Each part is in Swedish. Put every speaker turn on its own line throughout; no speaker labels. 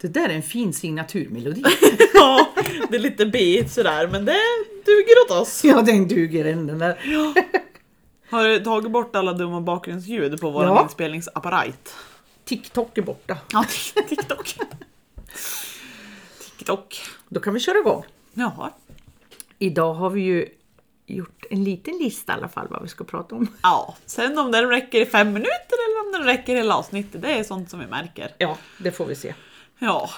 Det där är en fin signaturmelodi.
ja, det är lite beat sådär men det duger åt oss.
ja, den duger än den där.
Har du tagit bort alla dumma bakgrundsljud på vår
Ja.
inspelningsapparat?
TikTok är borta.
Ja, TikTok. TikTok.
Då kan vi köra igång.
Jaha.
Idag har vi ju gjort en liten lista i alla fall vad vi ska prata om.
Ja, sen om den räcker i fem minuter eller om den räcker hela avsnittet, det är sånt som vi märker.
Ja, det får vi se.
Ja.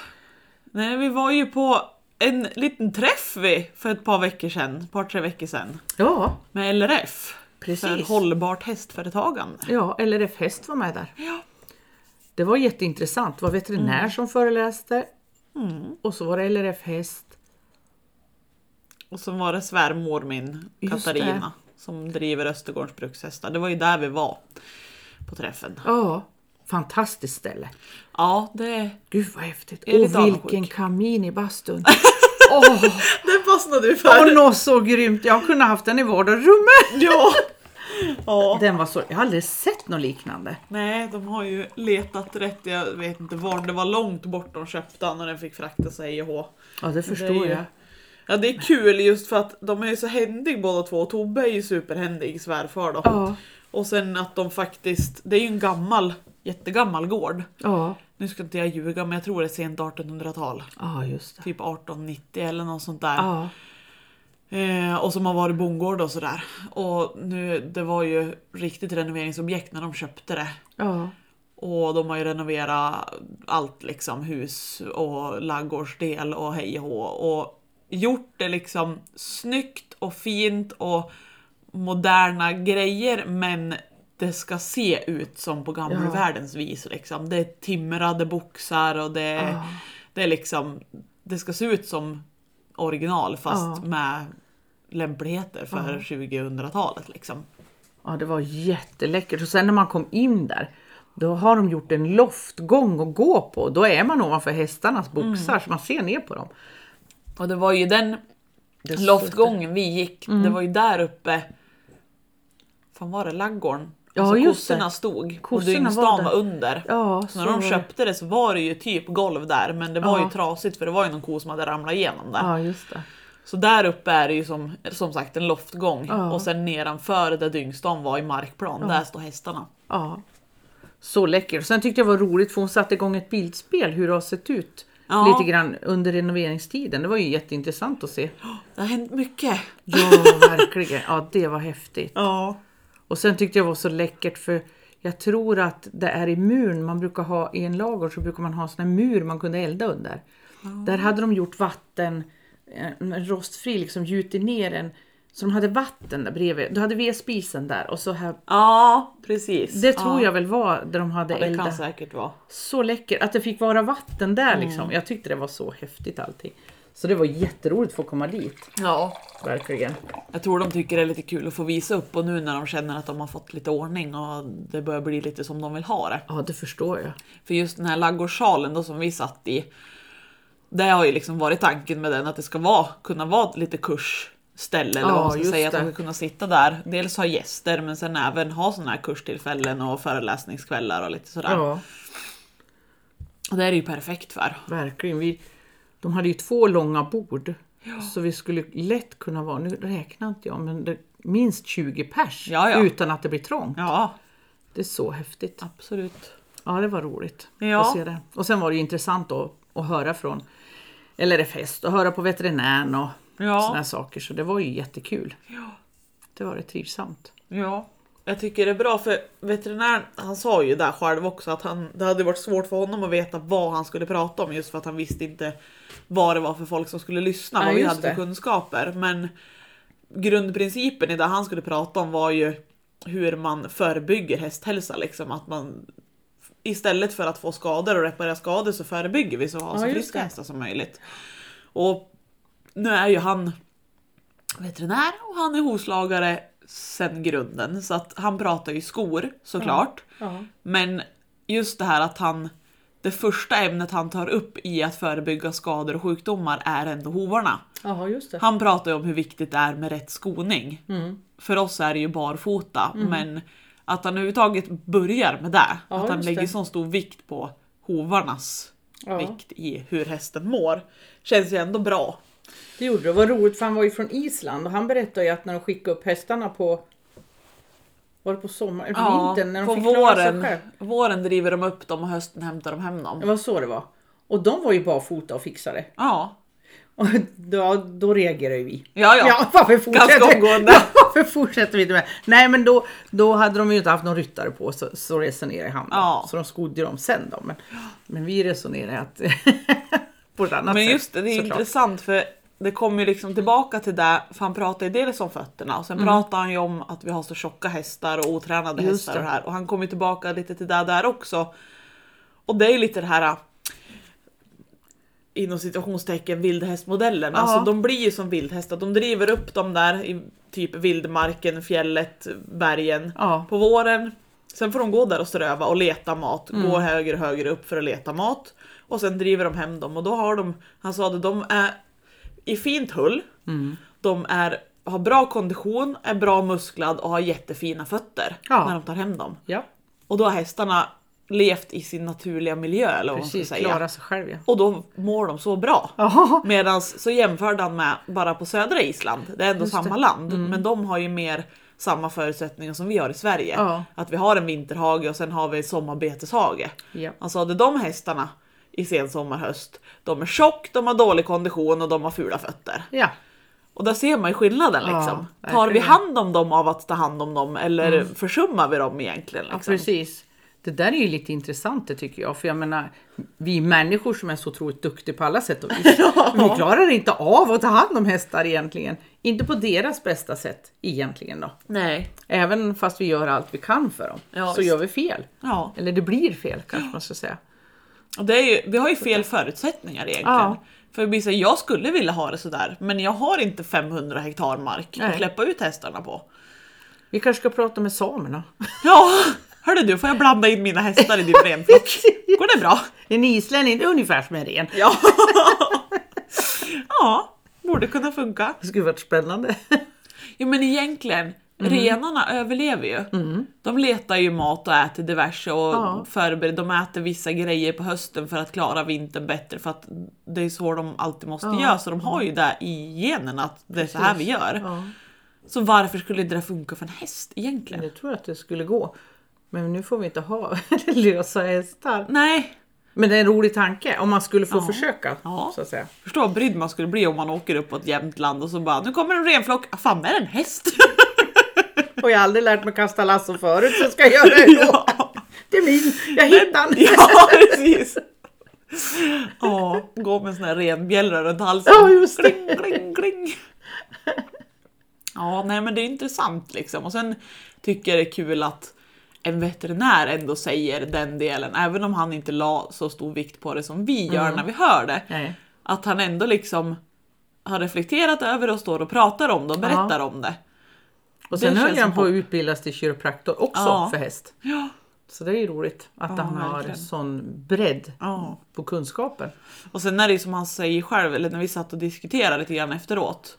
Nej, vi var ju på en liten träff vi för ett par veckor sedan, ett par tre veckor sedan,
Ja,
med LRF. För
precis.
hållbart hästföretagande.
Ja, LRF Häst var med där.
Ja.
Det var jätteintressant. Det var veterinär som föreläste och så var det LRF Häst.
Och så var det svärmor min,
Just
Katarina, som driver Östergårdens brukshästar. Det var ju där vi var på träffen.
Ja, fantastiskt ställe.
Ja, det,
Gud vad häftigt.
Jag är lite
Och vilken
avundsjuk.
kamin i bastun. Åh,
det fastnade du
åh nå så grymt. Jag kunde haft den i vardagsrummet.
Ja. ja.
Den var så, jag har aldrig sett något liknande.
Nej, de har ju letat rätt. Jag vet inte var. Det var långt bort de köpte den och den fick fraktas av IH.
Ja, det förstår
det är ju-
jag.
Ja, det är kul just för att de är ju så händiga båda två. Och Tobbe är ju superhändig svärfar då.
Ja,
Och sen att de faktiskt, det är ju en gammal, jättegammal gård.
ja,
Nu ska inte jag ljuga men jag tror det är sent 1800-tal.
ja just det.
Typ 1890 eller något sånt där.
Ja,
Eh, och som har varit bondgård och sådär. Och nu, det var ju riktigt renoveringsobjekt när de köpte det.
ja,
Och de har ju renoverat allt liksom, hus och laggårdsdel och hej och hå. Och gjort det liksom snyggt och fint och moderna grejer men det ska se ut som på gammelvärldens vis. Liksom. Det är timrade boxar och det,
Ja.
det är liksom, det ska se ut som original fast
Ja.
med lämpligheter för 2000-talet liksom.
ja, det var jätteläckert. Och sen när man kom in där, då har de gjort en loftgång att gå på. Då är man ovanför hästarnas boxar så man ser ner på dem.
Och det var ju den
Det Mm.
Loftgången vi gick, det var ju där uppe. Fan var det laggården?
Ja,
alltså,
just det.
kossorna stod
Kossorna
och dyngstan
var
var,
där.
under.
Ja,
Så när de
var det.
köpte det så var det ju typ golv där men det var
Ja.
ju trasigt för det var ju någon ko som hade ramlat igenom där.
Ja, just det.
Så där uppe är det ju som, som sagt en loftgång
Ja.
och sen nedanför där dyngstan var i markplan, där står hästarna.
Ja. Så läcker. Och sen tyckte jag det var roligt för hon satte igång ett bildspel hur det har sett ut
Ja.
lite grann under renoveringstiden. Det var ju jätteintressant att se.
Det har hänt mycket.
Ja, verkligen. Ja, det var häftigt.
Ja.
Och sen tyckte jag det var så läckert för jag tror att det är i muren man brukar ha, i en lager så brukar man ha en sån här mur man kunde elda under. Där hade de gjort vatten, eh, en rostfri, liksom gjutit ner en, så de hade vatten där bredvid. Du hade vedspisen där och så här.
Ja, precis.
Det tror
ja.
jag väl var där de hade
Det kan
eldat.
säkert vara.
Så läcker att det fick vara vatten där liksom. Jag tyckte det var så häftigt allting. Så det var jätteroligt att få komma dit.
Ja,
Verkligen.
Jag tror de tycker det är lite kul att få visa upp och nu när de känner att de har fått lite ordning och det börjar bli lite som de vill ha det.
Ja, det förstår jag.
För just den här laggårdssalen då som vi satt i, det har ju liksom varit tanken med den att det ska vara, kunna vara ett lite kursställe eller
Ja,
vad man ska
just
säga, att
det.
de ska kunna sitta där. Dels ha gäster men sen även ha sådana här kurstillfällen och föreläsningskvällar och lite sådär.
Ja,
Och det är det ju perfekt för.
verkligen. Vi, de hade ju två långa bord. Så vi skulle lätt kunna vara, nu räknar inte jag, men det, minst 20 pers
Ja, ja.
utan att det blir trångt.
Ja,
Det är så häftigt.
absolut.
Ja, det var roligt
Ja.
att se det. Och sen var det ju intressant då, att höra från LRF Häst och höra på veterinären och
Ja.
sådana här saker. Så det var ju jättekul.
Ja.
Det var det trivsamt.
Ja, jag tycker det är bra för veterinären, han sa ju där själv också att han, det hade varit svårt för honom att veta vad han skulle prata om just för att han visste inte vad det var för folk som skulle lyssna,
Ja,
vad vi
just
hade för
det.
kunskaper. Men grundprincipen i det han skulle prata om var ju hur man förebygger hästhälsa, liksom att man istället för att få skador och reparera skador så förebygger vi så att ha
Ja,
så
just
friska
det.
hästar som möjligt. Och nu är ju han veterinär och han är hovslagare sen grunden. Så att han pratar ju skor såklart.
Ja.
Men just det här att han, det första ämnet han tar upp i att förebygga skador och sjukdomar är ändå hovarna.
Ja, just det.
Han pratar ju om hur viktigt det är med rätt skoning.
Mm.
För oss är det ju barfota, men att han överhuvudtaget börjar med det. att han
just
lägger
det.
sån stor vikt på hovarnas
Ja.
vikt i hur hästen mår. Känns ju ändå bra.
Det gjorde det. Vad roligt för han var ju från Island och han berättade ju att när de skickade upp hästarna på var det på sommaren? Eller på vintern? När de
på
fick klara sig
våren,
själv. Mm.
våren driver de upp dem och hösten hämtar de hem
Det
dem.
var så det var. Och de var ju barfota och fixade.
Ja,
Och då, då reagerade ju vi.
ja, ja.
Ja, varför
Ganska
fortsätter,
omgående.
Ja, varför fortsätter vi inte med? Nej men då, då hade de ju inte haft någon ryttare på så, så resonerade han.
Ja.
Så de skodde ju dem sen då. Men, men vi resonerade att på ett annat
Men
sätt.
just det, det är
såklart.
intressant för det kommer ju liksom tillbaka till det, för han pratar ju dels om fötterna och sen pratar han ju om att vi har så tjocka hästar och otränade
Mm. Just
hästar och
det.
det här och han kommer ju tillbaka lite till det där också. Och det är ju lite det här inom situationstecken vildhästmodellen.
Ja.
Alltså de blir ju som vildhästar. De driver upp dem där i typ vildmarken, fjället, bergen
Ja.
på våren. Sen får de gå där och ströva och leta mat.
Mm.
Gå högre och högre upp för att leta mat. Och sen driver de hem dem och då har de, han sa det, de är i fint hull.
Mm.
De är, har bra kondition, är bra musklad och har jättefina fötter
Ja.
när de tar hem dem.
Ja,
Och då har hästarna levt i sin naturliga miljö eller vad man
precis.
ska säga.
Klara sig själv ja.
Och då mår de så bra.
Jaha.
Medan så jämförde han med bara på södra Island, det är ändå samma land,
Mm.
men de har ju mer samma förutsättningar som vi har i Sverige.
Ja.
Att vi har en vinterhage och sen har vi en sommarbeteshage.
Ja.
Han sa hade de hästarna i sen sommar, höst, de är tjock, de har dålig kondition och de har fula fötter.
ja.
Och där ser man ju skillnaden
Ja,
liksom. Tar vi
verkligen. Mm.
hand om dem av att ta hand om dem eller försummar vi dem egentligen?
Ja,
Liksom?
precis. Det där är ju lite intressant det tycker jag. För jag menar, vi människor som är så otroligt duktiga på alla sätt och vis. Vi klarar inte av att ta hand om hästar egentligen. Inte på deras bästa sätt egentligen då.
Nej.
Även fast vi gör allt vi kan för dem.
Ja,
så
visst.
gör vi fel.
Ja.
Eller det blir fel kanske man ska säga.
Och det är ju, vi har ju fel förutsättningar egentligen.
Ja.
För det blir så här, jag skulle vilja ha det sådär, men jag har inte 500 hektar mark
Nej.
att släppa ut hästarna på.
Vi kanske ska prata med samerna.
Ja, hörde du, får jag blanda in mina hästar i din renflock? Går det bra?
En islänning det är ungefär som en ren.
Ja. ja, borde kunna funka.
Det skulle varit spännande.
Jo men egentligen,
Mm.
renarna överlever ju. De letar ju mat och äter diverse och
Ja.
förbereder, de äter vissa grejer på hösten för att klara vintern bättre för att det är så de alltid måste göra så de har ju det i generna att det är så här vi gör.
Ja.
Så varför skulle inte det funka för en häst egentligen?
Jag tror att det skulle gå. Men nu får vi inte ha lösa hästar.
Nej,
Men det är en rolig tanke om man skulle få försöka.
Ja.
Så att säga.
förstå vad brydd man skulle bli om man åker upp på ett jämnt land och så bara nu kommer en renflock, ah, fan är det en häst?
Och jag har aldrig lärt mig kasta lasso förut så ska jag göra det då.
ja.
Det är min, jag hittar den.
ja, precis. Ja, gå med en sån här renbjällra runt halsen.
Ja, just det.
Kling, kling, kling. Ja, nej men det är intressant liksom. Och sen tycker jag det är kul att en veterinär ändå säger den delen, även om han inte la så stor vikt på det som vi gör
Mm.
när vi hör det.
Nej.
Att han ändå liksom har reflekterat över det och står och pratar om det och berättar om det.
Och sen
Det
höll
känns
han
som
på att utbildas till kiropraktor också
Ja.
för häst.
Ja.
Så det är ju roligt att
Ja,
han har
verkligen.
sån bredd
ja.
på kunskapen.
Och sen är det ju som han säger själv, eller när vi satt och diskuterade lite grann efteråt.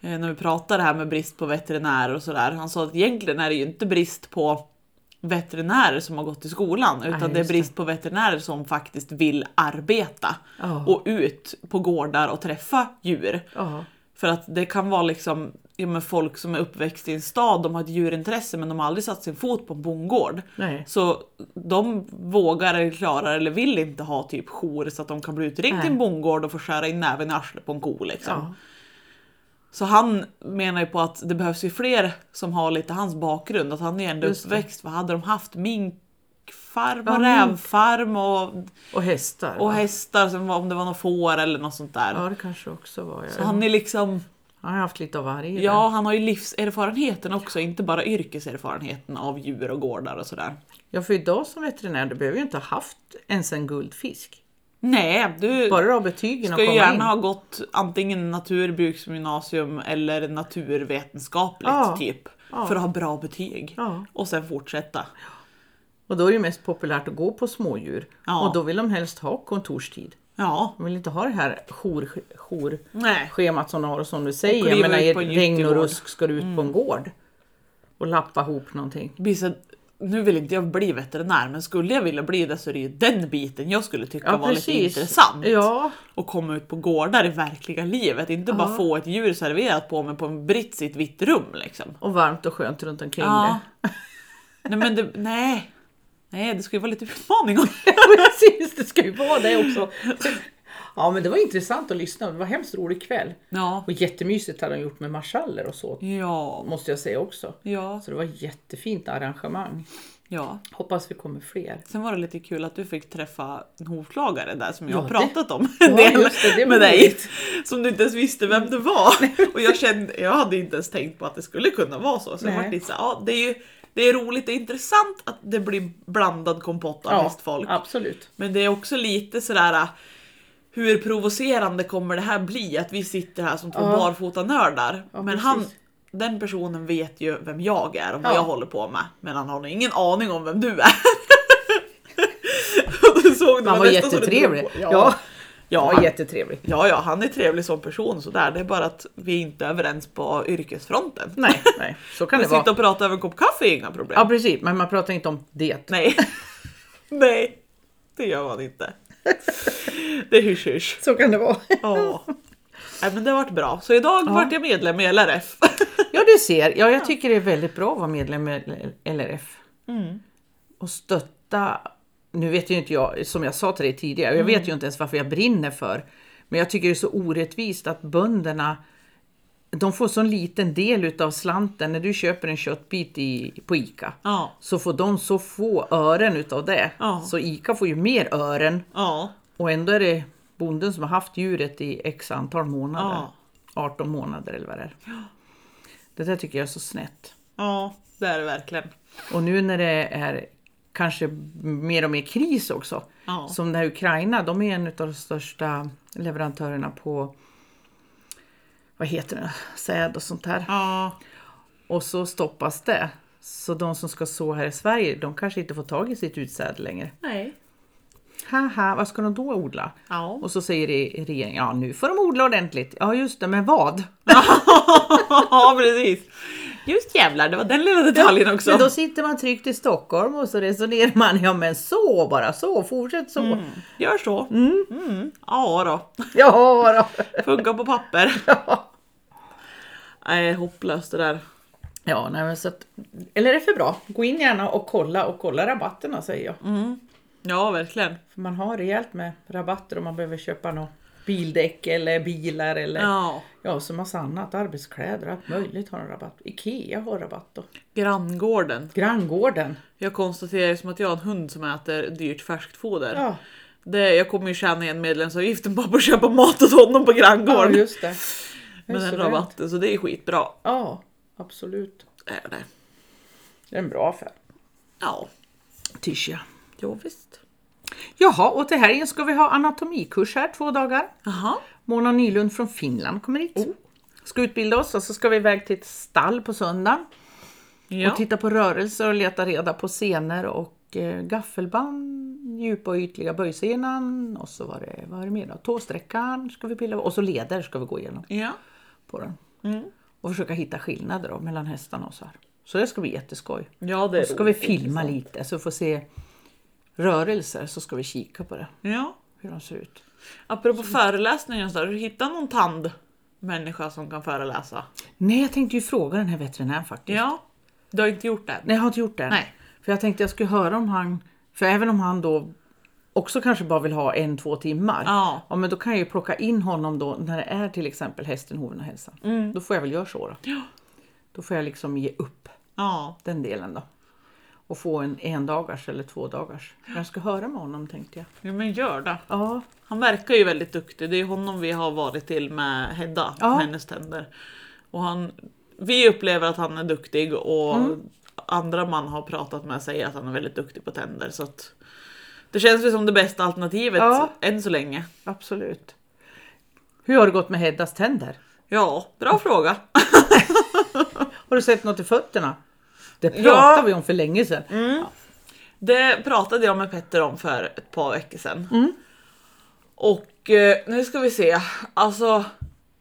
eh, När vi pratade här med brist på veterinärer och sådär. Han sa att egentligen är det ju inte brist på veterinärer som har gått i skolan. Utan det är
just det.
brist på veterinärer som faktiskt vill arbeta.
Ja.
Och ut på gårdar och träffa djur.
Ja.
För att det kan vara liksom ja, men folk som är uppväxt i en stad, de har ett djurintresse men de har aldrig satt sin fot på en bondgård.
Nej.
Så de vågar eller klarar eller vill inte ha typ jour så att de kan bli utringda till en bondgård och få skära in näven i arslet på en ko. Liksom.
Ja.
Så han menar ju på att det behövs ju fler som har lite hans bakgrund. Att han är ändå
Just det.
uppväxt, vad hade de haft? Minkfarm
Ja,
och
mink.
rävfarm och,
Och hästar.
och
va?
hästar, som var- om det var någon får eller något sånt där.
Ja, det kanske också var.
Så
Jag. Han...
han är liksom
har haft lite av varje.
Ja, han har ju livserfarenheten också, inte bara yrkeserfarenheten av djur och gårdar och sådär.
Ja, för idag som veterinär, du behöver ju inte ha haft ens en guldfisk.
Nej, du
Bara du har betygen och
ska ju
komma
gärna
in.
ha gått antingen naturbruksgymnasium eller naturvetenskapligt
Ja,
typ.
ja.
För att ha bra betyg.
Ja.
Och sen fortsätta.
Och då är det ju mest populärt att gå på smådjur.
Ja.
Och då vill de helst ha kontorstid.
Ja.
De vill inte ha det här jour, jour
Nej.
schemat som de har och som du säger.
kliva
Jag menar,
ut
i
på en
regn och
gyttjegård.
rusk ska du ut på en gård och lappa ihop någonting.
Det blir så- nu vill inte jag bli veterinär, men skulle jag vilja bli det så är det ju den biten jag skulle tycka
Ja,
var lite
precis.
intressant.
Ja,
Och komma ut på gårdar i verkliga livet, inte bara få ett djur serverat på mig på en brits i ett vitt rum liksom.
och varmt och skönt runt omkring
Ja.
det.
nej, men det, nej. nej, det skulle ju vara lite utmaning. om-
Precis, det ska ju vara det också. Ja men det var intressant att lyssna, det var hemskt rolig kväll.
Ja,
Och jättemysigt hade de gjort med marschaller och så,
ja,
måste jag säga också.
ja,
Så det var jättefint arrangemang.
ja.
Hoppas vi kommer fler.
Sen var det lite kul att du fick träffa en hovslagare där som jag
Ja,
har
det-
pratat om
Ja,
en del
just det, det var
med dig.
roligt.
Som du inte ens visste vem det var. Och jag, kände, jag hade inte ens tänkt på att det skulle kunna vara så. Så jag
Nej.
var lite så, här, ja, det är ju det är roligt, det är intressant att det blir blandad kompott av hästfolk.
absolut.
Men det är också lite sådär äh, hur provocerande kommer det här bli? Att vi sitter här som två
Ja.
barfota nördar.
Ja,
men
precis.
han, den personen vet ju vem jag är och vad
Ja.
jag håller på med. Men han har nog ingen aning om vem du är. Och du såg det,
Man
men
var
nästan så det
jättetrevlig.
drog på.
Ja,
Ja,
ja
han,
jättetrevlig.
ja, ja, han är trevlig som person sådär. Det är bara att vi inte är överens på yrkesfronten.
Nej, nej, så kan det
Men sitta
vara.
och prata över en kopp kaffe är inga problem.
Ja precis, men man pratar inte om det.
Nej. Nej, det gör man inte. Det är hysch hysch.
Så kan det vara.
Ja. Nej, men det har varit bra. Så idag
Ja.
vart jag medlem i LRF.
Ja du ser, ja, jag tycker det är väldigt bra att vara medlem i LRF. Och stötta, nu vet ju inte jag, som jag sa till dig tidigare, jag vet ju inte ens varför jag brinner för. Men jag tycker det är så orättvist att bönderna, de får så liten del utav slanten. När du köper en köttbit i, på ICA
Ja.
så får de så få ören utav det.
Ja.
Så ICA får ju mer ören
Ja.
och ändå är det bonden som har haft djuret i x antal månader.
Ja.
18 månader eller vad det är. Det där tycker jag är så snett.
Ja, det är det verkligen.
Och nu när det är kanske mer och mer kris också.
Ja.
Som när Ukraina, de är en av de största leverantörerna på vad heter det, säd och sånt här.
Ja.
Och så stoppas det. Så de som ska så här i Sverige, de kanske inte får tag i sitt utsäde längre.
Nej.
Haha, vad ska de då odla?
Ja.
Och så säger re- regeringen, ja nu får de odla ordentligt. Ja just det, men vad?
ja, precis. Just jävlar, det var den lilla detaljen också.
Men då sitter man tryggt i Stockholm och så resonerar man, ja men så bara, så, fortsätt så.
Gör så. Mm. Ja då.
Ja då.
Funkar på papper.
Ja.
Nej, hopplöst det där.
Ja, nej men så att, eller är för bra. Gå in gärna och kolla och kolla rabatterna säger jag.
Ja, verkligen.
För man har rejält med rabatter om man behöver köpa något bildäck eller bilar eller ja,
Ja.
så massa annat. Arbetskläder, allt möjligt har en rabatt. Ikea har rabatt och
Granngården.
granngården.
Jag konstaterar ju som att jag har en hund som äter dyrt färskt foder.
Ja,
Det, jag kommer ju tjäna igen medlemsavgiften bara på att köpa mat åt honom på granngården.
ja just det. det är
Men
så
en
väl.
rabatt, så det är skitbra.
Ja, absolut.
Är det.
Det är en bra affär.
Ja.
Tycker jag.
Jo, visst.
Jaha, och till helgen ska vi ha anatomikurs här två dagar.
Jaha.
Mona Nylund från Finland kommer hit. Ska utbilda oss och så ska vi iväg till ett stall på söndagen
Ja.
och titta på rörelser och leta reda på senor och eh, gaffelband, djupa och ytliga böjsenan och så var det, vad var det mer då? Tåsträckaren ska vi bilda och så leder ska vi gå igenom
ja.
på den. Och försöka hitta skillnader då, mellan hästarna och så här. Så det ska bli jätteskoj.
Ja, det är
Och så ska vi
roligt,
filma
intressant.
lite så vi får se rörelser så ska vi kika på det,
Ja.
hur de ser ut.
Apropå föreläsningar och sådär, har du hittat någon tandmänniska som kan föreläsa?
Nej, jag tänkte ju fråga den här veterinären faktiskt.
Ja. Du har inte gjort det?
Nej, jag har inte gjort det. än.
Nej.
För jag tänkte jag skulle höra om han, för även om han då också kanske bara vill ha en, två timmar.
Ja.
men då kan jag ju plocka in honom då när det är till exempel hästen, hoven och hälsan. Då får jag väl göra så då.
Mm. Ja.
Då får jag liksom ge upp
Ja.
den delen då. Och få en endagars eller tvådagars. Men jag ska höra med honom tänkte jag.
ja, men gör det.
Ja,
Han verkar ju väldigt duktig. Det är honom vi har varit till med Hedda,
Ja.
med hennes tänder. Och han, vi upplever att han är duktig och
Mm.
andra man har pratat med säger att han är väldigt duktig på tänder. Så att det känns väl som det bästa alternativet
Ja.
än så länge.
absolut. Hur har det gått med Heddas tänder?
Ja, bra fråga.
Har du sett något i fötterna? Det
Ja.
pratade vi om för länge sedan.
Det pratade jag med Petter om för ett par veckor sedan. Och eh, nu ska vi se, alltså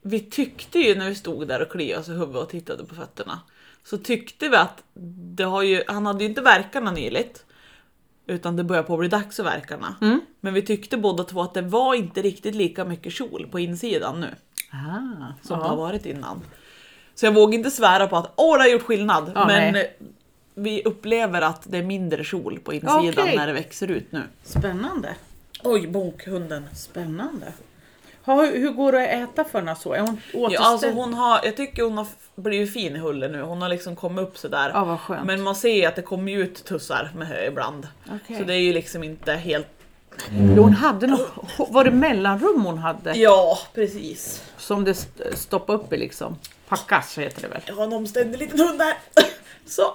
vi tyckte ju när vi stod där och kliade oss i huvudet och tittade på fötterna så tyckte vi att det har ju, han hade ju inte verkarna nyligt. Utan det börjar på att bli dags för verkarna.
Mm.
Men vi tyckte båda två att det var inte riktigt lika mycket kjol på insidan nu.
Ah,
Som det har
ja.
varit innan. Så jag vågar inte svära på att åh det har gjort skillnad.
Ja,
men
nej.
vi upplever att det är mindre kjol på insidan
Okej.
när det växer ut nu.
Spännande.
Oj, bokhunden.
Spännande. Ha, hur, hur går det att äta för henne så? Är hon återställd?
Ja, alltså hon har, jag tycker hon har f- blivit fin i hullen nu. Hon har liksom kommit upp sådär.
Ja, vad skönt.
Men man ser ju att det kommer ju ut tussar med hö ibland.
Okej.
Så det är ju liksom inte helt...
Jo, hon hade något, var det mellanrum hon hade?
Ja, precis.
Som det st- stoppade upp i liksom. Packas heter det väl?
Jag har en omständig liten hund där. Så.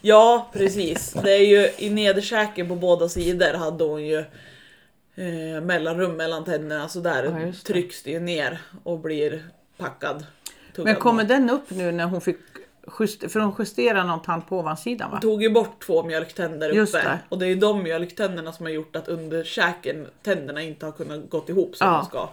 Ja, precis. Det är ju i nedersäken på båda sidor hade hon ju eh, mellanrum mellan tänderna så där
Ja, just det.
trycks det ju ner och blir packad. tuggad
Men kommer
mot.
den upp nu när hon fick just, för de justerade någon tand på ovansidan va?
tog ju bort två mjölktänder uppe
Just det.
och det är ju de mjölktänderna som har gjort att underkäken, tänderna inte har kunnat gått ihop som
Ja.
de ska.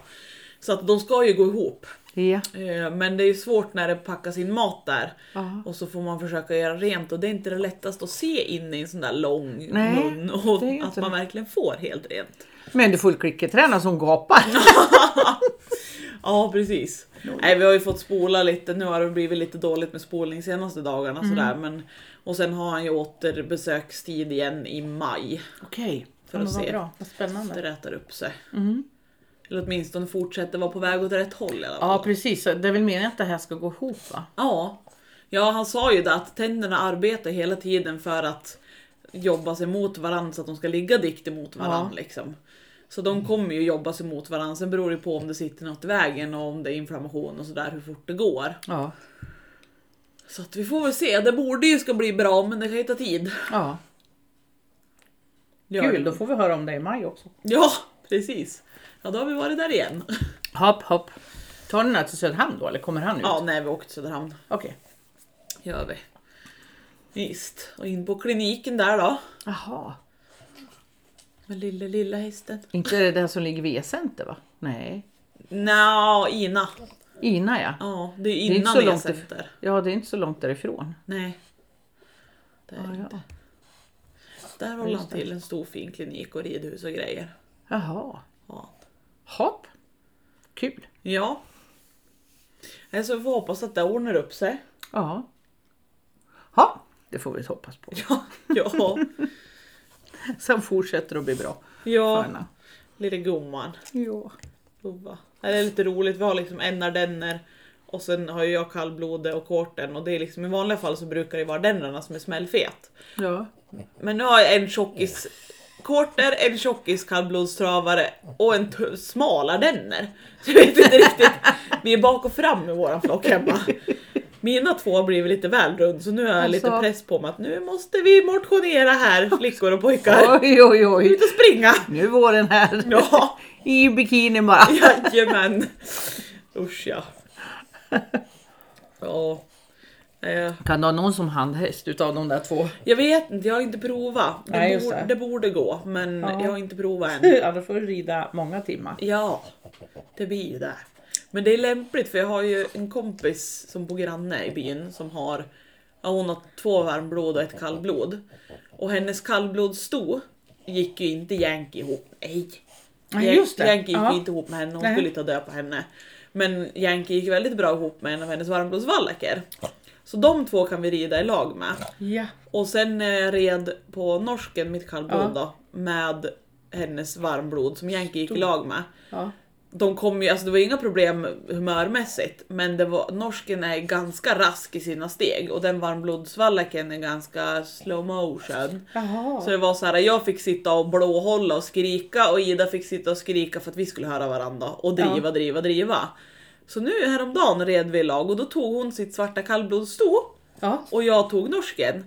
Så att de ska ju gå ihop.
Ja.
Eh, Men det är ju svårt när det packas in mat där
Ja.
och så får man försöka göra rent och det är inte det lättaste att se in i en sån där lång
Nej,
mun och
det är ju
att
inte
man
det.
verkligen får helt rent.
Men du får klicketränare som gapar.
Ja precis. Nej, vi har ju fått spola lite, nu har det blivit lite dåligt med spolning senaste dagarna
Mm.
sådär men och sen har han ju återbesökstid igen i maj.
Okej. Ja,
För
men
att
vad
se.
bra. Mm. Vad
Det
spännande.
rätar upp sig. Eller åtminstone fortsätter vara på väg åt rätt håll i alla
Ja
fall.
precis, Så det är väl meningen att det här ska gå ihop va?
Ja. ja, han sa ju det att tänderna arbetar hela tiden för att jobba sig mot varandra så att de ska ligga dikt emot varandra.
Ja. Mm.
Liksom. Så de kommer ju jobba sig mot varandra. Sen beror det på om det sitter något i vägen och om det är inflammation och sådär hur fort det går.
Ja.
Så att vi får väl se. Det borde ju ska bli bra men det kan ju ta tid.
ja.
Gör
Kul,
det.
då får vi höra om det i maj också.
Ja, precis. Ja, då har vi varit där igen.
Hopp hopp. Tar ni den här till Söderhamn då eller kommer han ut?
Ja, nej, vi åkte till Söderhamn.
Okej.
gör vi. Visst, och in på kliniken där då.
Jaha.
Med lilla, lilla hästen.
Inte det där som ligger vid E-center va? Nej.
Nja, Ina.
Ina ja.
Ja, det är
Det är inte
innan
så
det är
långt
center.
Ja, det är inte så långt därifrån.
Nej. Det är
Ja,
inte.
ja.
Där håller han
Just det.
till en stor fin klinik och ridhus och grejer.
Jaha.
Ja.
Hopp. Kul.
ja. Alltså, vi får hoppas att det ordnar upp sig.
Ja. Ja, det får vi hoppas på.
Ja, ja.
Sen fortsätter det att bli bra för
ja.
henne.
lilla gumman.
Ja.
Bubba. Det är lite roligt, vi har liksom en ardenner och sen har ju jag kallblodet och korten och det är liksom i vanliga fall så brukar det vara ardennerna som är smällfet.
Ja.
Men nu har jag en tjockis korter, en tjockis kallblodstravare och en t- smal ardenner. Så jag vet inte riktigt. Vi är bak och fram i våran flock hemma. Mina två har blivit lite väl rund så nu har jag lite
Alltså.
press på mig att nu måste vi motionera här flickor och pojkar.
Oj, oj, oj.
Ut och springa!
Nu var den här.
Ja.
I bikini bara.
Jajamän! Usch ja. Ja. Eh,
Kan du ha någon som handhäst utav de där två?
Jag vet inte, jag har inte provat. Det,
Nej, just
borde,
det.
det borde gå men
Ja.
jag har inte provat än.
Annars får du rida många timmar.
Ja, det blir ju det. Men det är lämpligt för jag har ju en kompis som bor granne i byn som har, ja, hon har två varmblod och ett kallblod. Och hennes kallblodssto gick ju inte Yankee ihop. Nej!
Ja, just det.
Yankee gick
Ja.
ju inte ihop med henne, hon
Nej.
skulle ta död på henne. Men Yankee gick väldigt bra ihop med en av hennes varmblodsvallacker. Så de två kan vi rida i lag med.
Ja.
Och sen eh, red på norsken, mitt kallblod då, med hennes varmblod som Yankee gick i lag med.
ja.
De kom ju, alltså det var inga problem humörmässigt men det var, norsken är ganska rask i sina steg och den varmblodsvallaken är ganska slow motion.
Jaha.
Så det var så här, jag fick sitta och blåhålla och skrika och Ida fick sitta och skrika för att vi skulle höra varandra och driva,
Ja.
driva, driva. Så nu häromdagen red vi i lag och då tog hon sitt svarta kallblodssto
ja.
och jag tog norsken.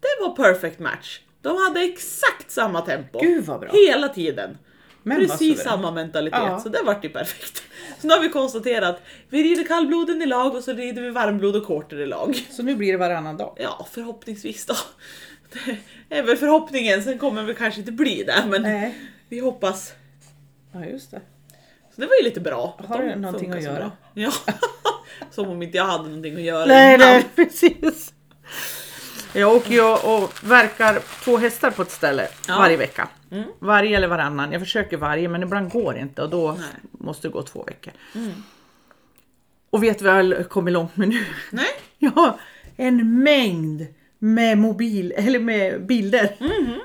Det var perfect match. De hade exakt samma tempo.
Gud vad bra.
Hela tiden.
Men vad
Precis
suveränt.
samma mentalitet,
Ja.
så det vart ju perfekt. Så nu har vi konstaterat, vi rider kallbloden i lag och så rider vi varmblod och korter i lag.
Så nu blir det varannan dag.
Ja, förhoppningsvis då. Det är väl förhoppningen, sen kommer vi kanske inte bli det, men
Nej.
vi hoppas.
Ja, just det.
Så det var ju lite bra. att
Har
de
du någonting
funkar
att
så
göra?
bra. Ja, som om inte jag hade någonting att göra
Nej,
innan.
nej, precis. Jag åker ju och och verkar två hästar på ett ställe
Ja.
varje vecka. Varje eller varannan. Jag försöker varje men ibland går det inte och då måste det gå två veckor. Och vet vi har kommit långt med nu?
Nej.
Jag har en mängd med mobil eller med bilder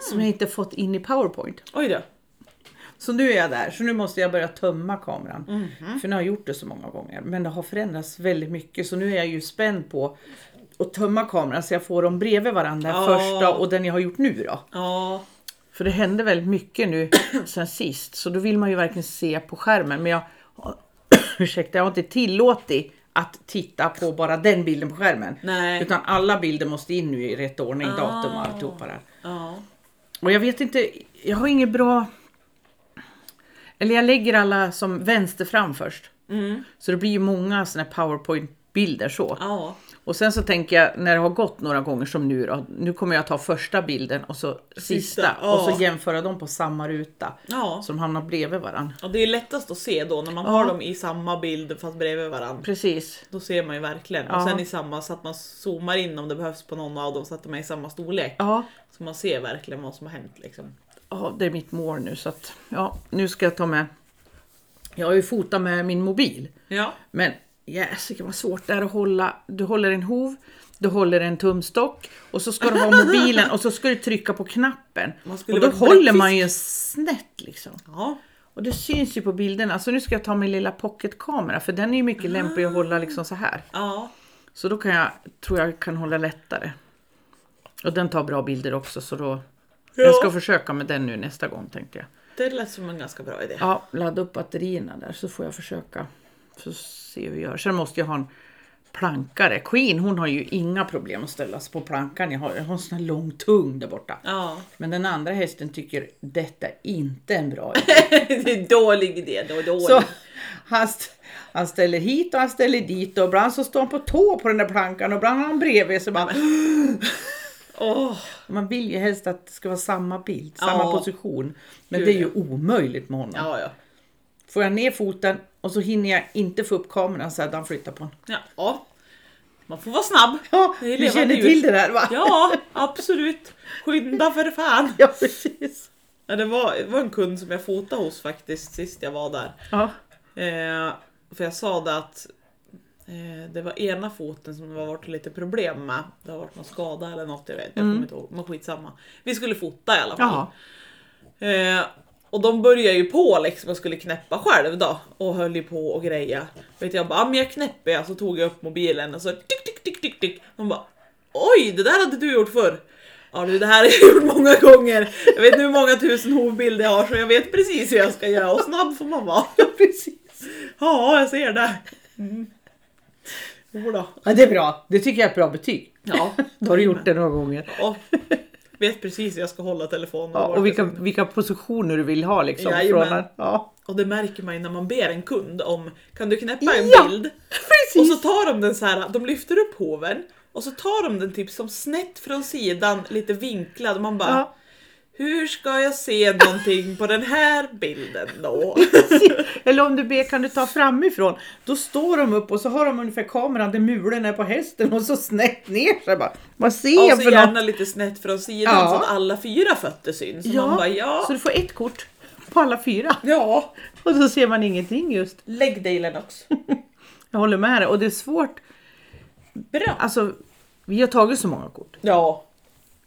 som jag inte fått in i powerpoint.
Oj då.
Så nu är jag där, så nu måste jag börja tömma kameran. För nu har jag gjort det så många gånger. Men det har förändrats väldigt mycket så nu är jag ju spänd på att tömma kameran så jag får dem bredvid varandra.
Ja.
Första och den jag har gjort nu då.
Ja.
För det hände väldigt mycket nu sen sist. Så då vill man ju verkligen se på skärmen. Men jag, ursäkta, jag har inte tillåtit att titta på bara den bilden på skärmen.
Nej.
Utan alla bilder måste in nu i rätt ordning, datum och
Ah.
alltihopa där.
Ja.
Och jag vet inte, jag har inget bra... Eller jag lägger alla som vänster fram först.
Mm. Ah.
Så det blir ju många såna här powerpoint-bilder så.
Ja.
Och sen så tänker jag när det har gått några gånger som nu då. Nu kommer jag ta första bilden och så sista.
ja.
Och så jämföra dem på samma ruta.
Ja.
Som hamnar bredvid varandra.
Och det är lättast att se då när man
Ja.
har dem i samma bild fast bredvid varandra.
Precis.
Då ser man ju verkligen.
Ja.
Och sen i samma så att man zoomar in om det behövs på någon av dem så att de är i samma storlek.
Ja,
Så man ser verkligen vad som har hänt liksom.
ja det är mitt mål nu så att ja, nu ska jag ta med. Jag har ju fotat med min mobil.
Ja.
Men jäsiken vad svårt det är att hålla. Du håller en hov, du håller en tumstock och så ska du ha mobilen och så ska du trycka på knappen.
Man skulle
Och då
varit
håller man
bläckfisk.
ju snett liksom.
Ja.
Och det syns ju på bilderna. Så nu ska jag ta min lilla pocketkamera för den är ju mycket lämplig att hålla liksom så här.
Ja.
Så då kan jag, tror jag kan hålla lättare. Och den tar bra bilder också så då jag ska försöka med den nu nästa gång tänkte jag.
Det lät som en ganska bra idé.
Ja, ladda upp batterierna där så får jag försöka. Så se hur jag gör. Sen måste jag ha en plankare. Queen hon har ju inga problem att ställa sig på plankan. Jag har, jag har en sån här lång tung där borta.
Ja.
Men den andra hästen tycker detta är inte en bra idé.
det är en dålig idé. Det var dålig.
Så han, st- han ställer hit och han ställer dit och ibland så står han på tå på den där plankan och ibland har han bredvid sig. Bara,
Åh.
man vill ju helst att det ska vara samma bild, samma
Ja.
position. Men
Gud,
det är ju omöjligt med honom.
Ja, ja.
Får jag ner foten och så hinner jag inte få upp kameran så att han flyttar på den.
ja. ja. Man får vara snabb.
Ja,
Det är
du
levande
känner
djur.
till det där va?
Ja, absolut. Skynda för fan.
Ja, precis.
Ja, det, var, det var en kund som jag fotade hos faktiskt sist jag var där.
Ja.
Eh, för jag sa det att eh, det var ena foten som det har varit lite problem med. Det har varit någon skada eller något, jag vet jag kommer inte ihåg. Men skitsamma. Vi skulle fota i alla fall.
Jaha.
Eh, och de började ju på liksom och skulle knäppa själv då. Och höll ju på och greja. Vet jag bara, ah, men jag knäpper jag. Så tog jag upp mobilen och så tick, tick, tick, tick, tick. De bara, oj det där hade du gjort förr. Ja du, det här har jag gjort många gånger. Jag vet nu hur många tusen hovbilder jag har så jag vet precis hur jag ska göra och snabb får man vara.
ja, precis.
Ja, jag ser det. Mm. Jodå.
Ja, det är bra. Det tycker jag är ett bra betyg.
Ja,
Då har du gjort det några gånger.
ja. Vet precis hur jag ska hålla telefonen.
Ja,
vart jag
och vilka,
ska-
vilka positioner du vill ha liksom.
Jajamän.
Från, att- ja.
och det märker man ju när man ber en kund om Kan du knäppa en
Ja,
bild?
precis.
Och så tar de den så här, de lyfter upp hoven och så tar de den typ som snett från sidan, lite vinklad och man bara
Ja.
Hur ska jag se någonting på den här bilden då?
Eller om du ber kan du ta framifrån. Då står de upp och så har de ungefär kameran där mulen är på hästen och så snett ner sig bara. Vad ser
Och
jag
så
för något?
gärna lite snett från sidan
Ja.
så att alla fyra fötter syns. Så
Ja,
man bara ja.
Så du får ett kort på alla fyra.
ja.
Och så ser man ingenting just.
Lägg dig Lennox.
Jag håller med dig och det är svårt.
Bra.
Alltså, vi har tagit så många kort.
Ja.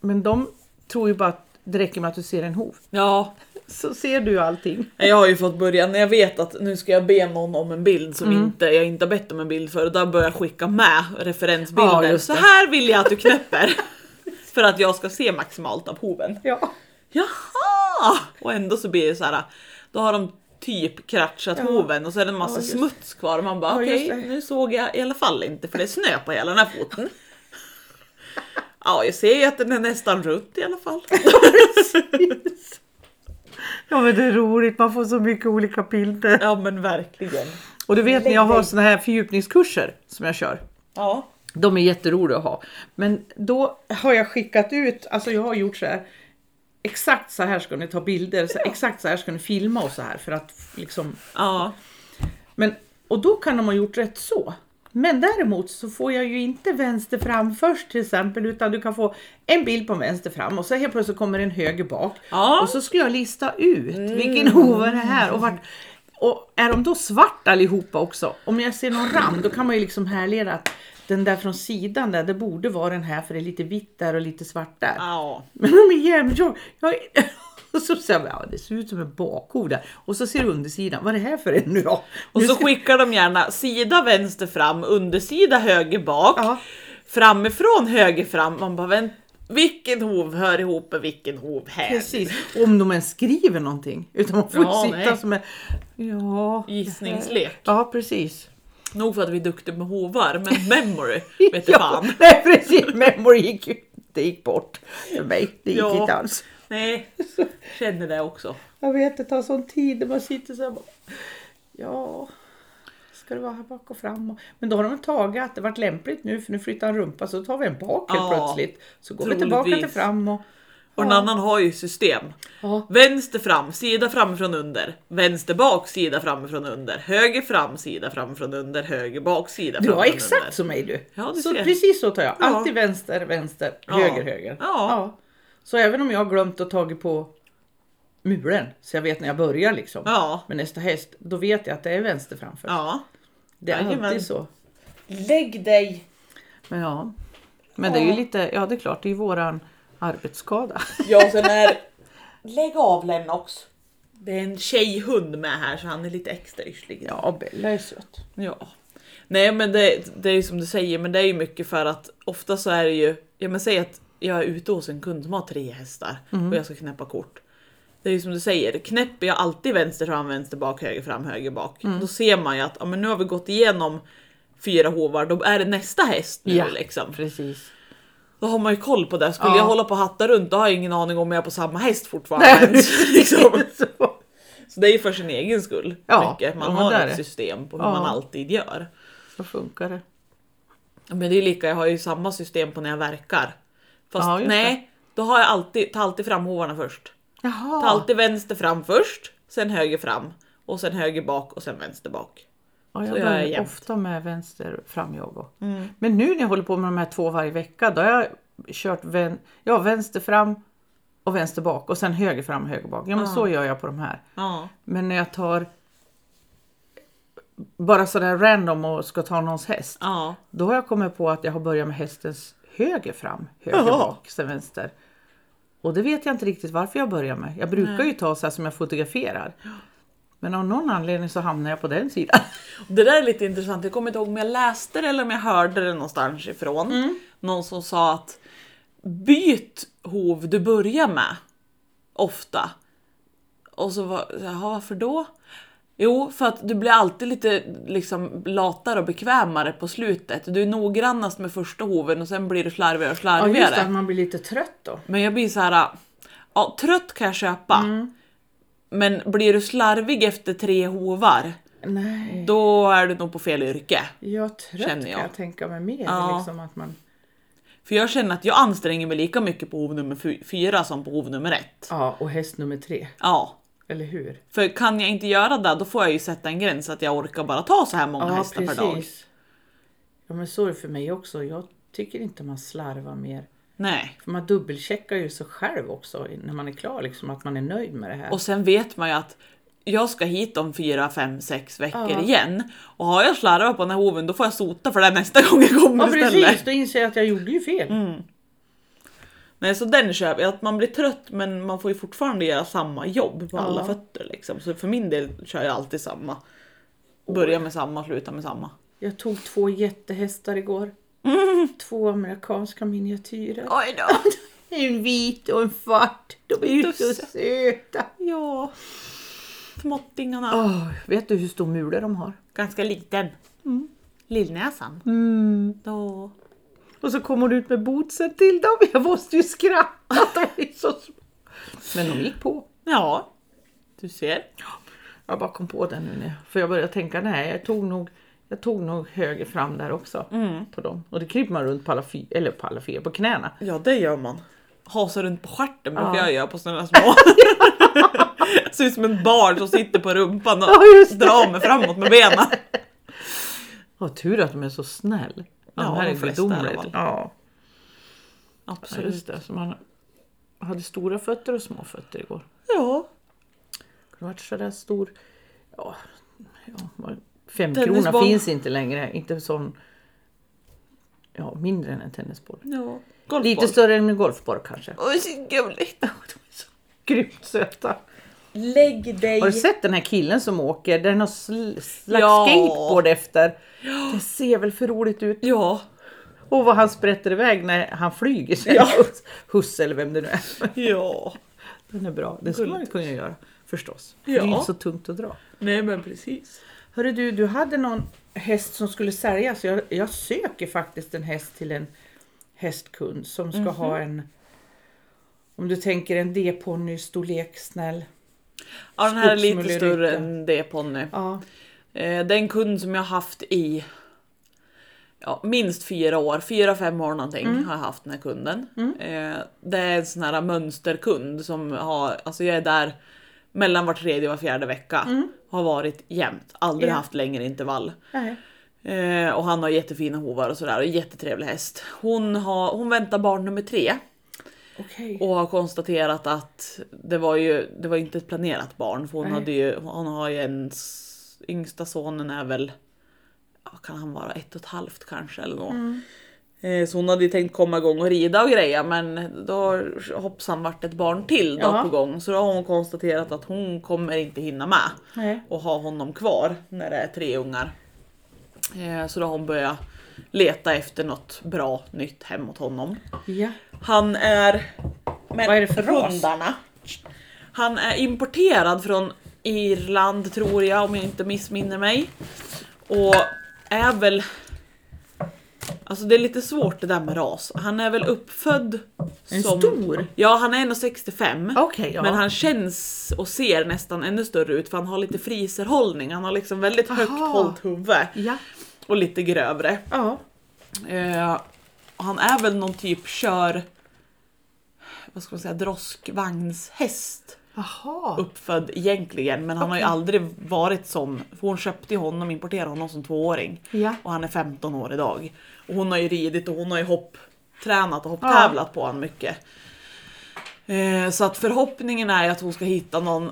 Men de tror ju bara att det räcker med att du ser en hov.
Ja.
Så ser du ju allting.
Jag har ju fått börja när jag vet att nu ska jag be någon om en bild som
Mm.
inte, jag inte har bett om en bild för. och Där börjar jag skicka med referensbilder.
Ja, just
så
det.
här vill jag att du knäpper. för att jag ska se maximalt av hoven.
Ja.
Jaha! Och ändå så blir det så här. då har de typ kratschat hoven och så är det en massa
Ja, just det.
smuts kvar. Och man bara
Ja, just
okej,
det.
nu såg jag i alla fall inte för det är snö på hela den här foten. Ja, jag ser ju att den är nästan runt i alla fall.
ja men det är roligt, man får så mycket olika bilder.
Ja men verkligen.
Och du vet när jag har såna här fördjupningskurser som jag kör.
Ja.
De är jätteroliga att ha. Men då har jag skickat ut, alltså jag har gjort så här. Exakt så här ska ni ta bilder, så, exakt så här ska ni filma och så här för att liksom.
Ja.
Men, och då kan de ha gjort rätt så. Men däremot så får jag ju inte vänster fram först till exempel utan du kan få en bild på vänster fram och så helt plötsligt kommer en höger bak.
Ja. Mm.
Och så skulle jag lista ut vilken hov är det här och, vart, och är de då svart allihopa också? Om jag ser någon rand då kan man ju liksom härleda att den där från sidan där, det borde vara den här för det är lite vitt där och lite svart där.
Ja.
Men de är jävligt jag, jag Och så säger jag, ja, det ser ut som en bakhov där. Och så ser du undersidan, vad är det här för en nu då?
Och
Nu
så
ska-
skickar de gärna sida vänster fram, undersida höger bak,
Ja.
framifrån höger fram. Man bara vänt, vilken hov hör ihop med vilken hov här?
Precis, om de ens skriver någonting. Utan man får
Ja,
sitta
nej.
som en... Ja,
Gissningslek.
ja, precis.
Nog för att vi är duktiga med hovar, men memory vet
ja,
fan.
Nej, precis. Memory gick, ju- det gick bort för mig. Det gick
Ja.
inte alls.
Nej, känner det också.
Jag vet, det tar sån tid när man sitter så här bara, Ja, ska det vara här bak och fram? och- Men då har de tagit att det varit lämpligt nu för nu flyttar han rumpa så tar vi en bak helt
Ja,
plötsligt. Så går vi tillbaka till
troligtvis.
fram och...
Och en annan har ju system.
Ja.
Vänster fram, sida framifrån under. Vänster bak, sida framifrån under. Höger fram, sida framifrån under. Höger bak, sida
Du
framifrån
har
under.
exakt som mig du.
Ja, du
så
ser.
precis så tar jag.
Ja.
Alltid vänster, vänster,
Ja.
höger, höger.
Ja.
Så även om jag har glömt att tagit på mulen så jag vet när jag börjar liksom.
Ja.
Men nästa häst, då vet jag att det är vänster framför.
Ja.
Det är
Jajamän.
alltid så.
Lägg dig!
Men ja. Men det är ju lite, ja det är klart, det är ju våran arbetsskada.
Ja, och sen är... Lägg av Lennox. Det är en tjejhund med här så han är lite extra yrslig.
Ja, Bella är söt.
Ja. Nej men det, det är ju som du säger, men det är ju mycket för att ofta så är det ju, ja men säg att jag är ute hos en kund som har tre hästar och jag ska knäppa kort. Det är ju som du säger, knäpper jag alltid vänster fram, vänster bak, höger fram, höger bak. Då ser man ju att ja, men nu har vi gått igenom fyra hovar, då är det nästa häst nu
Ja.
liksom.
Precis.
Då har man ju koll på det. Skulle
Ja.
jag hålla på och hatta runt då har jag ingen aning om jag är på samma häst
Nej,
fortfarande.
precis.
liksom.
Så.
Så det är ju för sin egen skull.
Ja,
mycket.
ja,
Man
men
har
där
ett
är-
system på hur
Ja.
man alltid gör.
så funkar det.
Men det är lika, jag har ju samma system på när jag verkar. Fast
Ja, just
nej, då har jag alltid, tar alltid fram hovarna först.
Jaha.
Tar alltid vänster fram först, sen höger fram och sen höger bak och sen vänster bak.
Ja, jag
Så jag är
börjar
jämnt. Mm.
ofta med vänster fram jag och. Men nu när jag håller på med de här två varje vecka då har jag kört vän, ja, vänster fram och vänster bak och sen höger fram höger bak.
Ah.
Ja men så gör jag på de här.
Ja.
Men när jag tar bara sådär random och ska ta någons häst.
Ja.
Då har jag kommit på att jag har börjat med hästens höger fram, höger
Jaha.
bak, sen vänster. Och det vet jag inte riktigt varför jag börjar med. Jag brukar ju ta så här som jag fotograferar. Men av någon anledning så hamnar jag på den sidan.
Det där är lite intressant, jag kommer inte ihåg om jag läste det eller om jag hörde det någonstans ifrån.
Mm.
Någon som sa att byt hov du börjar med ofta. Och så var jaha varför då? Jo, för att du blir alltid lite liksom, latare och bekvämare på slutet. Du är noggrannast med första hoven och sen blir du slarvigare och
Ja,
slarvigare.
just det, att man blir lite trött då.
Men jag blir så här, ja, trött kan jag köpa.
Mm.
Men blir du slarvig efter tre hovar,
Nej,
då är du nog på fel yrke.
jag trött
Känner
kan
jag.
jag tänka mig mer.
Ja.
Liksom att man,
För jag känner att jag anstränger mig lika mycket på hov nummer fy- fyra som på hov nummer ett.
ja, och häst nummer tre,
Ja.
eller hur?
För kan jag inte göra det, då får jag ju sätta en gräns att jag orkar bara ta så här många
Ja,
hästar per dag.
precis. Ja, men så är det för mig också. Jag tycker inte man slarvar mer.
Nej.
För man dubbelcheckar ju sig själv också när man är klar, liksom, att man är nöjd med det här.
Och sen vet man ju att jag ska hit om fyra, fem, sex veckor
Ja.
igen. Och har jag slarvat på den här hoven, då får jag sota för det nästa gång jag kommer
ja, precis.
istället.
Då inser jag att jag gjorde ju fel.
Nej, så den köper jag. Att man blir trött, men man får ju fortfarande göra samma jobb på
Ja.
alla fötter liksom. Så för min del kör jag alltid samma. Börja med samma, sluta med samma.
Jag tog två jättehästar igår. Två amerikanska miniatyrer.
Oj då!
En vit och en svart. De är ju så
Tusse.
söta.
Ja. Småttingarna.
Åh, Ah, vet du hur stor mule de har?
Ganska liten. Mm. Lillnäsan. Mm. Då.
Och så kommer du ut med bootsen till dem. Jag måste ju skratta. De är så små. Men de gick på.
Ja. Du ser.
Jag bara kom på det nu. när- För jag började tänka, nej jag tog nog, jag tog nog höger fram där också.
Mm.
På dem. Och det kryper man runt på alla fyra, eller på alla fyra, på knäna.
Ja, det gör man. Hasar runt på stjärten brukar
Ja.
jag göra på sådana små. Ser ut som ett barn som sitter på rumpan och
Ja, just det.
drar mig framåt med benen.
Ja, tur att de är så snäll. de
Ja,
här
de
är
flesta i alla
gudomligt.
fall.
Ja, ja,
Absolut.
just det. Så man hade stora fötter och små fötter igår.
Ja,
Kunde varit sådär stor. Ja, ja vad- femkrona
Tennisboll.
finns inte längre. Inte sån... Ja, mindre än en tennisboll.
ja. Golfboll.
Lite större än en golfboll kanske.
Oj, så gulligt.
Grymt söta.
Lägg dig.
Har du sett den här killen som åker? Det är någon sl- slags
Ja.
skateboard efter. Det ser väl för roligt ut.
Ja,
Och vad han sprätter iväg när han flyger sig.
Ja.
Husse eller vem det nu är.
ja.
Den är bra. Det skulle man kunna göra förstås. För
Ja.
Det är inte så tungt att dra.
Nej men precis.
Hörru du, du hade någon häst som skulle säljas. Jag, jag söker faktiskt en häst till en hästkund som ska ha en om du tänker en D-ponny storlek snäll.
Ja, den här är lite
Skogsmullerica.
större än det ponny.
Ja.
Eh, Det är en kund som jag har haft i ja, minst fyra år, fyra, fem år någonting har jag haft den här kunden. Eh, Det är en sån här mönsterkund som har, alltså jag är där mellan var tredje och var fjärde vecka. Har varit jämt, aldrig
Ja.
haft längre intervall.
Nej.
Eh, och han har jättefina hovar och sådär och jättetrevlig häst. Hon, har, hon väntar barn nummer tre.
Okej.
Och har konstaterat att det var ju det var inte ett planerat barn för hon,
Nej.
hade ju, hon har ju en s- yngsta sonen är väl, ja, kan han vara ett och ett halvt kanske eller något. Eh, Så hon hade ju tänkt komma igång och rida och greja men då har hoppsan vart ett barn till då
Jaha.
på gång. Så då har hon konstaterat att hon kommer inte hinna med
Nej.
och ha honom kvar när det är tre ungar. Eh, Så då har hon börjat leta efter något bra nytt hem åt honom.
Ja.
Han är... Men
Vad är det för ras?
hundarna? Han är importerad från Irland tror jag om jag inte missminner mig. Och är väl... Alltså det är lite svårt det där med ras. Han är väl uppfödd
En
som...
stor?
Ja, han är 1,65.
Okej, ja.
Men han känns och ser nästan ännu större ut för han har lite friserhållning. Han har liksom väldigt högt
Aha.
hållt huvud
Ja.
och lite grövre.
Ja.
Eh, han är väl någon typ kör... Vad ska man säga? Droskvagnshäst.
Jaha.
Uppfödd egentligen, men han har ju aldrig varit sån. För hon köpte ju honom, importerade honom som tvååring.
Ja.
Och han är 15 år idag. Och hon har ju ridit och hon har ju hopptränat och hopptävlat på honom mycket. Eh, så att förhoppningen är ju att hon ska hitta någon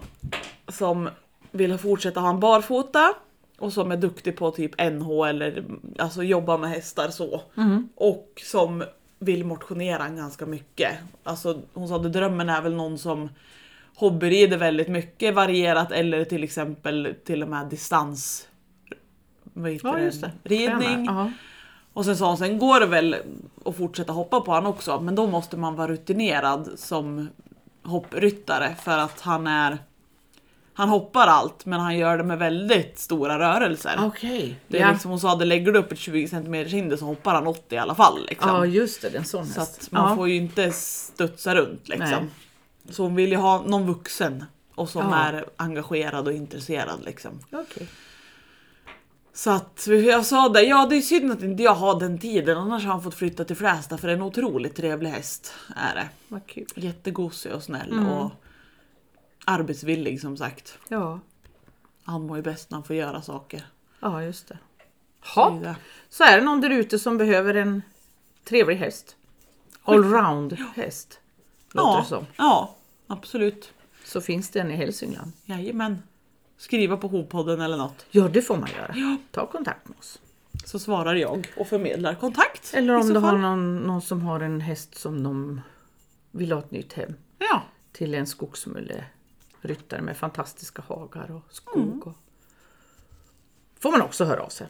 som vill fortsätta ha en barfota och som är duktig på typ NH eller alltså jobba med hästar så.
Mm.
Och som vill motionera ganska mycket. Alltså hon sa att drömmen är väl någon som hobbyrider väldigt mycket varierat eller till exempel till och med distans vad heter
Ja, just det.
ridning.
Tränar. Ja.
Och sen sa hon, sen går det väl att fortsätta hoppa på han också, men då måste man vara rutinerad som hoppryttare för att han är... Han hoppar allt, men han gör det med väldigt stora rörelser.
Okej.
Det är
Ja.
liksom, hon sa, det lägger du upp ett 20 cm hinder så hoppar han 80 i alla fall. Liksom.
ja, just det. det är En sån
så
häst.
att man
ja.
får ju inte studsa runt liksom.
Nej.
Så hon vill ju ha någon vuxen och som
Ja.
är engagerad och intresserad liksom.
Okej.
Så att jag sa det, ja det är synd att inte jag har den tiden annars har han fått flytta till Flästa för det är en otroligt trevlig häst. Är det.
Vad kul.
Jättegosig och snäll
Mm.
och arbetsvillig som sagt.
Ja.
Han mår ju bäst när han får göra saker.
ja, just det.
Det är
Ha.
ju det.
Så är det någon där ute som behöver en trevlig häst. Allround häst. Låter det
Ja,
som.
ja, absolut.
Så finns det en i Hälsingland.
Jajamän. Skriva på Hovpodden eller något.
Ja, det får man göra. Ta kontakt med oss.
Så svarar jag och förmedlar kontakt.
Eller
i så
om du har
fall.
någon, någon som har en häst som de vill ha ett nytt hem
Ja,
till en skogsmulleryttare med fantastiska hagar och skog. Och... får man också höra av sig.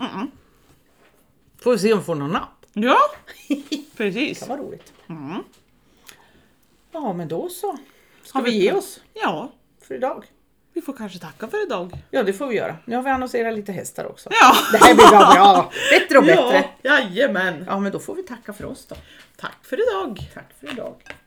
Får vi se om vi får någon napp.
ja. precis.
Vad roligt. Ja, men då så. Ska
Har
vi
vi
ge
pr-
oss
Ja,
för idag?
vi får kanske tacka för idag.
Ja, det får vi göra. Nu har vi annonserat lite hästar också.
Ja,
Det här blir bra, bra. Bättre och bättre.
Ja, jajamän.
Ja, men då får vi tacka för oss då.
Tack för idag.
Tack för idag.